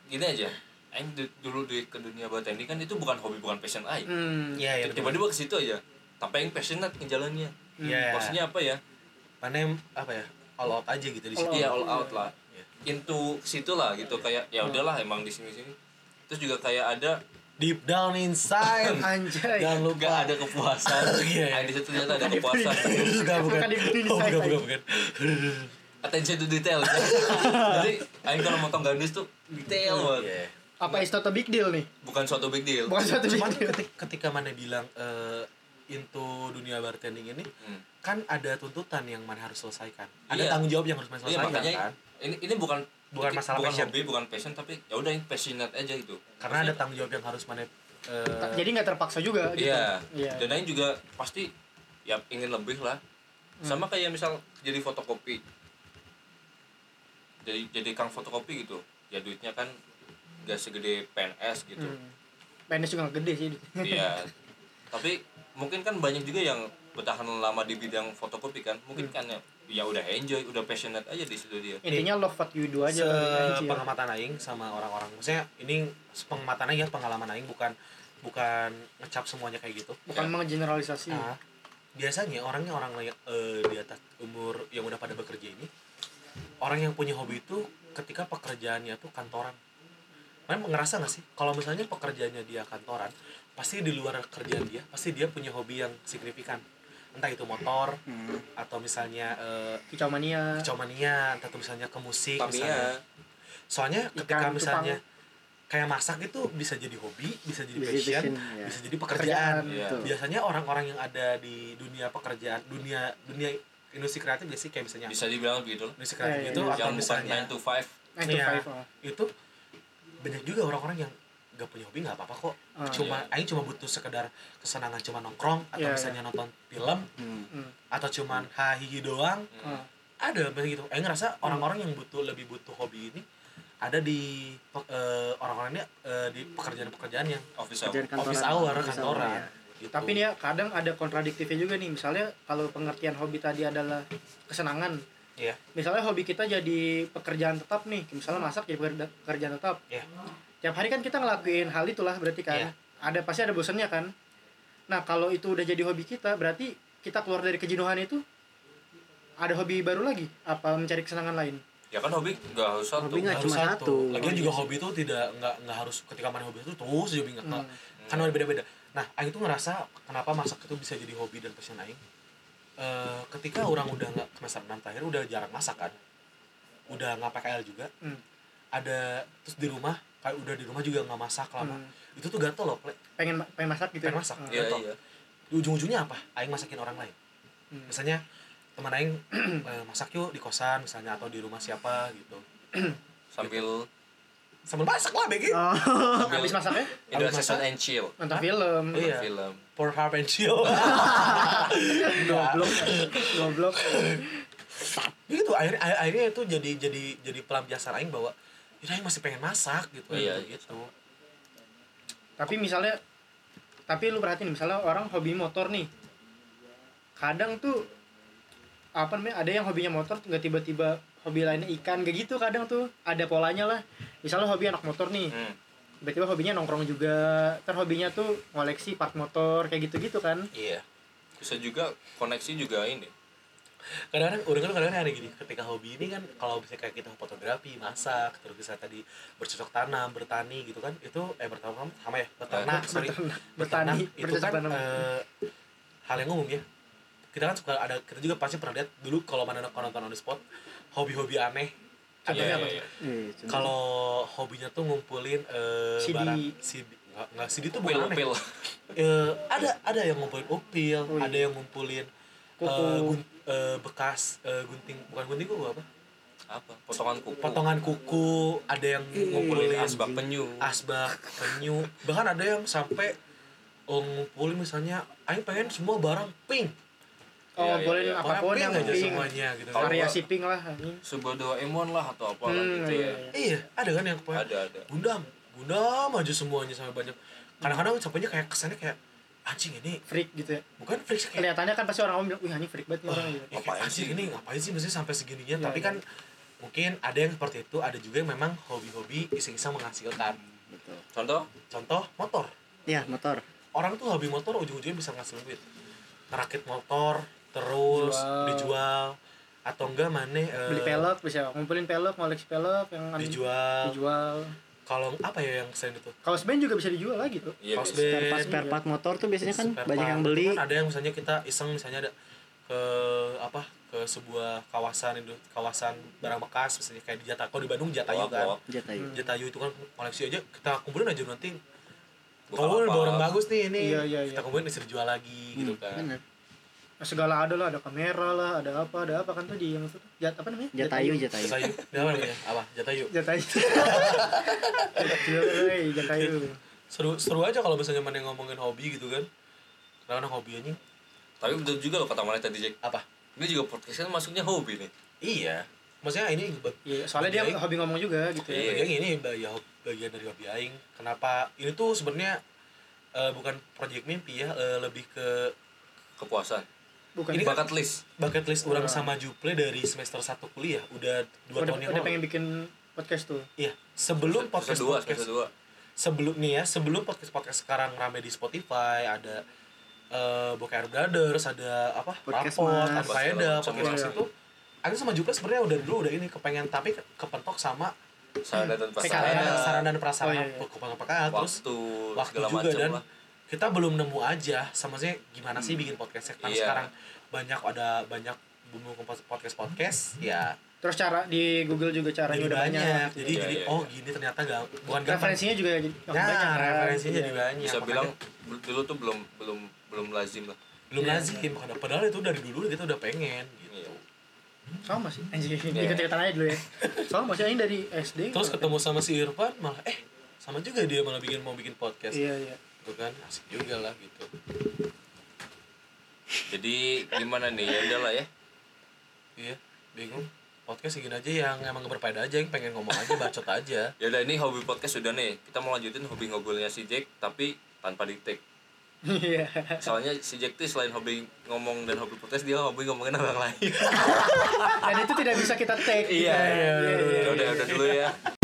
Speaker 3: gini aja. Aing du- dulu di ke dunia bertani kan itu bukan hobi bukan passion aing.
Speaker 2: hmm.
Speaker 1: iya iya betul.
Speaker 3: Tiba-tiba ke situ aja. Tapi yang passionate ngejalannya.
Speaker 1: Iya.
Speaker 3: Maksudnya apa ya?
Speaker 1: mana yang- apa ya all out aja gitu di
Speaker 2: All
Speaker 1: situ
Speaker 2: out.
Speaker 3: Iya all out
Speaker 2: Iya.
Speaker 3: lah. Into situ lah gitu kayak ya
Speaker 2: Hmm.
Speaker 3: udahlah emang di sini sini. Terus juga kayak ada
Speaker 1: deep down inside
Speaker 2: anjay
Speaker 1: jangan lupa
Speaker 3: enggak ada kepuasan.
Speaker 1: Iya, iya.
Speaker 3: Nah, di situ ternyata ada kepuasan.
Speaker 2: Iya,
Speaker 1: Enggak, bukan
Speaker 2: Bukan deep down
Speaker 1: Oh, bukan
Speaker 2: inside.
Speaker 1: bukan bukan
Speaker 3: Attention to detail. Jadi aing kalau motong gandus tuh detail banget.
Speaker 1: Iya.
Speaker 2: apa is not a big deal nih
Speaker 3: Bukan suatu big deal.
Speaker 2: bukan suatu big
Speaker 1: cuman
Speaker 2: deal
Speaker 1: ketika, ketika mana bilang eh, into dunia bartending ini
Speaker 3: Hmm.
Speaker 1: kan ada tuntutan yang mana harus selesaikan ada
Speaker 3: Iya.
Speaker 1: tanggung jawab yang harus mana
Speaker 3: Iya
Speaker 1: selesaikan
Speaker 3: makanya
Speaker 1: kan
Speaker 3: ini ini bukan
Speaker 1: Bukan masalah
Speaker 3: bukan
Speaker 1: passion.
Speaker 3: hobi, bukan passion tapi ya udah yang passionate aja gitu.
Speaker 1: karena ada tanggung jawab yang harus mana eh,
Speaker 2: jadi nggak terpaksa juga gitu
Speaker 3: Iya.
Speaker 2: Iya.
Speaker 3: Dan lain juga pasti ya ingin lebih lah.
Speaker 2: Hmm.
Speaker 3: Sama kayak misal jadi fotokopi. Jadi jadi kang fotokopi gitu. Ya duitnya kan nggak segede PNS gitu.
Speaker 2: hmm. PNS juga nggak gede sih
Speaker 3: Iya. Tapi mungkin kan banyak juga yang bertahan lama di bidang fotokopi kan. Mungkin
Speaker 2: Hmm.
Speaker 3: kan ya, ya udah enjoy, udah passionate aja di situ dia.
Speaker 2: intinya love what you do aja kali, anjir.
Speaker 1: pengamatan aing sama orang-orang maksudnya ini pengamatan aing ya pengalaman aing bukan bukan ngecap semuanya kayak gitu
Speaker 2: bukan menggeneralisasi
Speaker 1: Nah, biasanya orangnya orang yang eh, di atas umur yang udah pada bekerja ini orang yang punya hobi itu ketika pekerjaannya tuh kantoran Memang ngerasa gak sih kalau misalnya pekerjaannya dia kantoran pasti di luar kerjaan dia pasti dia punya hobi yang signifikan entah itu motor
Speaker 2: Hmm.
Speaker 1: atau misalnya eh,
Speaker 2: kicau mania
Speaker 1: kicau mania entah itu misalnya ke
Speaker 2: Iya,
Speaker 1: musik misalnya
Speaker 3: Tamiya.
Speaker 1: soalnya ketika
Speaker 2: Ikan,
Speaker 1: misalnya kayak masak itu bisa jadi hobi bisa jadi
Speaker 2: Bisa jadi
Speaker 1: passion
Speaker 2: passion, ya.
Speaker 1: bisa jadi pekerjaan
Speaker 2: Pekerjaan,
Speaker 3: Iya.
Speaker 2: betul.
Speaker 1: biasanya orang-orang yang ada di dunia pekerjaan dunia dunia industri kreatif biasanya kayak misalnya
Speaker 3: Bisa dibilang gitu. begitu lah.
Speaker 1: industri kreatif
Speaker 2: Iya, iya,
Speaker 1: itu
Speaker 2: iya.
Speaker 1: atau
Speaker 3: Yang bukan
Speaker 1: misalnya
Speaker 3: 9 to 5.
Speaker 2: Nine to
Speaker 1: Iya.
Speaker 2: five, ah.
Speaker 1: itu banyak juga orang-orang yang gak punya hobi nggak apa-apa kok
Speaker 2: Ah,
Speaker 1: cuma aing cuma butuh sekedar kesenangan cuma nongkrong atau
Speaker 2: Iya,
Speaker 1: misalnya nonton film
Speaker 2: Hmm.
Speaker 1: atau cuman hahihi doang
Speaker 2: Ah.
Speaker 1: ada banyak gitu. Aing ngerasa orang-orang yang butuh lebih butuh hobi ini ada di pe- eh, orang-orangnya eh, di pekerjaan-pekerjaan yang
Speaker 3: Office hour.
Speaker 4: Kerjaan kantoran.
Speaker 1: office hour
Speaker 4: Office hour,
Speaker 1: kantoran
Speaker 4: ya.
Speaker 1: gitu.
Speaker 2: Tapi nih ya kadang ada kontradiktifnya juga nih. Misalnya kalau pengertian hobi tadi adalah kesenangan.
Speaker 1: Iya.
Speaker 2: Misalnya hobi kita jadi pekerjaan tetap nih. Misalnya masak jadi pekerja- pekerjaan tetap.
Speaker 1: Iya.
Speaker 2: Tiap hari kan kita ngelakuin hal itulah berarti
Speaker 1: Iya.
Speaker 2: kan. Ada pasti ada bosannya kan. Nah, kalau itu udah jadi hobi kita, berarti kita keluar dari kejenuhan itu ada hobi baru lagi apa mencari kesenangan lain.
Speaker 3: ya kan hobi nggak harus satu
Speaker 4: Hobi nggak
Speaker 1: Nggak
Speaker 4: cuma
Speaker 1: harus
Speaker 4: satu.
Speaker 1: Lagian juga hobi itu tidak nggak nggak harus ketika main hobi itu terus hobi nggak
Speaker 2: Hmm.
Speaker 1: kan ada beda-beda. Nah, Aing tuh ngerasa kenapa masak itu bisa jadi hobi dan passion Aing. Eh, ketika orang udah nggak semester 6 terakhir udah jarang masak kan, udah nggak PKL juga,
Speaker 2: Hmm.
Speaker 1: ada terus di rumah kayak udah di rumah juga nggak masak lama.
Speaker 2: Hmm.
Speaker 1: Itu tuh gatel loh, Ple.
Speaker 2: Pengen ma- pengen masak gitu.
Speaker 1: Pengen
Speaker 2: ya?
Speaker 1: masak.
Speaker 2: Hmm.
Speaker 3: iya
Speaker 1: Betul.
Speaker 3: iya
Speaker 1: Di ujung-ujungnya apa? Aing masakin orang lain.
Speaker 2: Hmm.
Speaker 1: Misalnya teman Aing eh, masak yuk di kosan misalnya atau di rumah siapa gitu.
Speaker 3: sambil
Speaker 1: Sambil masak lah, Begi.
Speaker 4: Oh,
Speaker 3: sambil
Speaker 2: Habis masaknya
Speaker 3: Indonesian Iya, and chill
Speaker 2: nonton film.
Speaker 1: ya? Iya.
Speaker 3: film
Speaker 1: Pour harp and chill.
Speaker 2: Goblok. Goblok.
Speaker 1: gitu akhirnya akhir- akhirnya itu jadi jadi jadi pelampiasan aing bahwa ya aing masih pengen masak gitu
Speaker 3: Iya,
Speaker 1: Aing gitu
Speaker 2: tapi misalnya tapi lu perhatiin misalnya orang hobi motor nih kadang tuh apa namanya ada yang hobinya motor nggak tiba-tiba hobi lainnya ikan kayak gitu kadang tuh ada polanya lah misalnya hobi anak motor nih
Speaker 3: Hmm.
Speaker 2: tiba-tiba hobinya nongkrong juga ter hobinya tuh ngoleksi part motor kayak gitu-gitu kan
Speaker 1: iya
Speaker 3: bisa juga koneksi juga ini
Speaker 1: kadang-kadang orang kan kadang-kadang ada gini ketika hobi ini kan kalau misalnya kayak kita fotografi masak terus bisa tadi bercocok tanam bertani gitu kan itu eh bertanam sama ya beternak
Speaker 3: Eh,
Speaker 1: sorry
Speaker 2: bertani
Speaker 1: beternak
Speaker 2: bertani
Speaker 1: itu
Speaker 2: bercocok
Speaker 1: kan
Speaker 2: tanam.
Speaker 1: eh, hal yang umum ya kita kan suka ada kita juga pasti pernah lihat dulu kalau mana kalau nonton on the spot hobi-hobi aneh
Speaker 2: Contohnya
Speaker 3: Iya,
Speaker 2: apa tuh?
Speaker 3: iya, iya.
Speaker 4: eh,
Speaker 2: Gitu.
Speaker 4: cuman-
Speaker 1: kalau hobinya tuh ngumpulin eh,
Speaker 2: CD.
Speaker 1: barang CD nggak nggak CD tuh
Speaker 3: pil
Speaker 1: bukan aneh
Speaker 3: pil
Speaker 1: Eh, ada ada yang ngumpulin upil,
Speaker 2: Oh, iya.
Speaker 1: ada yang ngumpulin
Speaker 2: Kuku.
Speaker 1: eh, gun- eh, bekas eh, gunting bukan gunting kuku apa?
Speaker 3: apa potongan kuku
Speaker 1: Potongan kuku, ada yang
Speaker 2: Iya,
Speaker 1: ngumpulin
Speaker 3: kulit asbak penyu
Speaker 1: asbak, penyu, bahkan ada yang sampai oh, ngumpulin misalnya aing pengen semua barang pink.
Speaker 2: oh
Speaker 3: Iya, iya,
Speaker 2: boleh
Speaker 3: iya.
Speaker 1: Barang
Speaker 2: apapun
Speaker 1: pink
Speaker 2: yang
Speaker 1: aja
Speaker 2: pink
Speaker 1: semuanya gitu. kan.
Speaker 3: Kalau-
Speaker 2: variasi pink lah anjing.
Speaker 3: sebuah Doraemon lah atau apa
Speaker 2: Hmm,
Speaker 3: gitu
Speaker 2: iya,
Speaker 3: ya
Speaker 2: iya.
Speaker 1: Iya, ada kan yang kepengen
Speaker 3: ada ada
Speaker 1: gundam, gundam aja semuanya sampai banyak. Kadang-kadang sampainya kayak kesannya kayak anjing ini
Speaker 2: freak gitu ya
Speaker 1: bukan freak kayak
Speaker 2: kelihatannya kan pasti orang bilang wih anjing freak banget nih orang gitu
Speaker 1: ya,
Speaker 3: Ngapain
Speaker 1: ngapain sih
Speaker 3: sih?
Speaker 1: ini ngapain sih mesti sampai segininya
Speaker 2: Ya,
Speaker 1: tapi
Speaker 2: ya.
Speaker 1: kan mungkin ada yang seperti itu ada juga yang memang hobi-hobi iseng-iseng menghasilkan
Speaker 4: Betul.
Speaker 3: contoh
Speaker 1: contoh motor
Speaker 4: Iya, motor.
Speaker 1: orang tuh hobi motor ujung-ujungnya bisa ngasilin duit ngerakit motor terus
Speaker 2: Jual.
Speaker 1: dijual atau enggak mana eh,
Speaker 2: beli pelek bisa ngumpulin pelek ngoleksi pelek yang an-
Speaker 1: dijual
Speaker 2: dijual
Speaker 1: kalau apa ya yang selain itu
Speaker 2: kaos band juga bisa dijual lagi tuh
Speaker 3: Iya,
Speaker 1: Kaos
Speaker 3: bisa.
Speaker 4: Spare part,
Speaker 1: band,
Speaker 4: spare part motor tuh biasanya kan
Speaker 1: spare
Speaker 4: banyak
Speaker 1: part.
Speaker 4: yang beli.
Speaker 1: Kan ada yang misalnya kita iseng misalnya ada ke apa ke sebuah kawasan itu kawasan barang bekas misalnya kayak di Jatayu di Bandung Jatayu
Speaker 3: Wak,
Speaker 1: kan
Speaker 3: wak.
Speaker 4: Jatayu.
Speaker 1: Jatayu itu kan koleksi aja kita kumpulin aja nanti
Speaker 3: Bukan
Speaker 1: kalau
Speaker 3: apa.
Speaker 1: barang bagus nih ini
Speaker 2: Iya, iya, iya.
Speaker 1: kita kumpulin bisa dijual
Speaker 4: Hmm.
Speaker 1: lagi gitu kan
Speaker 4: Bener.
Speaker 2: Nah, segala ada lah ada kamera lah ada apa ada apa kan tuh di yang itu jat apa namanya
Speaker 4: Jatayu, Jatayu.
Speaker 1: Jatayu Ini apa namanya apa Jatayu
Speaker 2: jatayu Jatayu, wey, jatayu
Speaker 1: seru seru aja kalau misalnya mana yang ngomongin hobi gitu kan karena hobi anjing
Speaker 3: tapi betul juga loh kata mana tadi Jack
Speaker 1: apa
Speaker 3: ini juga podcast kan masuknya hobi nih
Speaker 1: iya maksudnya ini ba-
Speaker 2: Iya, soalnya dia
Speaker 1: Baik.
Speaker 2: hobi ngomong juga gitu ya.
Speaker 3: Iya.
Speaker 1: bagian ini bagi- bagian dari hobi aing kenapa ini tuh sebenarnya eh, bukan project mimpi ya eh, lebih ke
Speaker 3: kepuasan
Speaker 2: Bukan
Speaker 1: Ini kan-
Speaker 3: bakat list
Speaker 1: bucket list orang sama Juple dari semester 1 kuliah udah dua
Speaker 2: udah,
Speaker 1: tahun yang
Speaker 2: udah
Speaker 1: lalu.
Speaker 2: pengen bikin podcast tuh.
Speaker 1: Iya, sebelum podcast
Speaker 3: kedua
Speaker 1: podcast
Speaker 3: kedua
Speaker 1: sebelum nih ya, sebelum podcast podcast sekarang rame di Spotify, ada eh Boker Brothers, ada apa?
Speaker 4: Podcast
Speaker 1: Rapot,
Speaker 4: Mas.
Speaker 1: Al-Qaeda,
Speaker 3: Podcast
Speaker 1: podcast
Speaker 2: Mas.
Speaker 1: itu. Aku sama Juple sebenarnya udah dulu udah ini kepengen tapi ke- kepentok sama
Speaker 3: sarana
Speaker 1: sarana,
Speaker 2: Sarana.
Speaker 3: dan prasarana
Speaker 1: sarana dan prasarana
Speaker 2: Oh, iya, iya.
Speaker 1: kepentok PKL terus
Speaker 3: waktu
Speaker 1: waktu
Speaker 3: segala
Speaker 1: juga
Speaker 3: macam
Speaker 1: dan Iya,
Speaker 3: lah
Speaker 1: kita belum nemu aja sama sih gimana sih bikin podcastnya karena
Speaker 3: Iya.
Speaker 1: sekarang banyak ada banyak bumbu podcast podcast ya
Speaker 2: Terus cara di Google juga caranya
Speaker 1: jadi
Speaker 2: udah banyak. gitu.
Speaker 1: jadi
Speaker 3: Iya,
Speaker 1: jadi
Speaker 3: iya,
Speaker 1: oh gini ternyata gak bukan gampang
Speaker 2: referensinya juga jadi makin
Speaker 1: Nah,
Speaker 2: banyak, kan?
Speaker 1: referensinya
Speaker 2: Iya.
Speaker 1: jadi banyak.
Speaker 3: bisa
Speaker 1: makanya
Speaker 3: bilang bel- dulu tuh belum belum belum lazim lah
Speaker 1: belum lazim. Makanya Padahal itu dari dulu kita udah pengen gitu.
Speaker 3: Iya.
Speaker 2: Sama sih. Anjing,
Speaker 3: Iya.
Speaker 2: ikut-ikutan aja dulu ya. Sama sih anjing dari SD.
Speaker 1: Terus ketemu sama si Irfan malah eh sama juga dia malah bikin mau bikin podcast.
Speaker 2: Iya, iya.
Speaker 1: Gitu kan asik juga lah gitu.
Speaker 3: jadi gimana nih ya udah lah ya
Speaker 1: Iya, bingung. Podcast segini aja yang emang berfaedah aja yang pengen ngomong aja bacot aja.
Speaker 3: ya udah ini hobi podcast sudah nih kita mau lanjutin hobi ngobrolnya si Jack tapi tanpa di take
Speaker 2: Iya.
Speaker 3: Soalnya si Jack tuh selain hobi ngomong dan hobi podcast dia hobi ngomongin orang lain.
Speaker 2: Dan itu tidak bisa kita take. Iya,
Speaker 3: Iya,
Speaker 2: iya,
Speaker 3: udah udah dulu ya.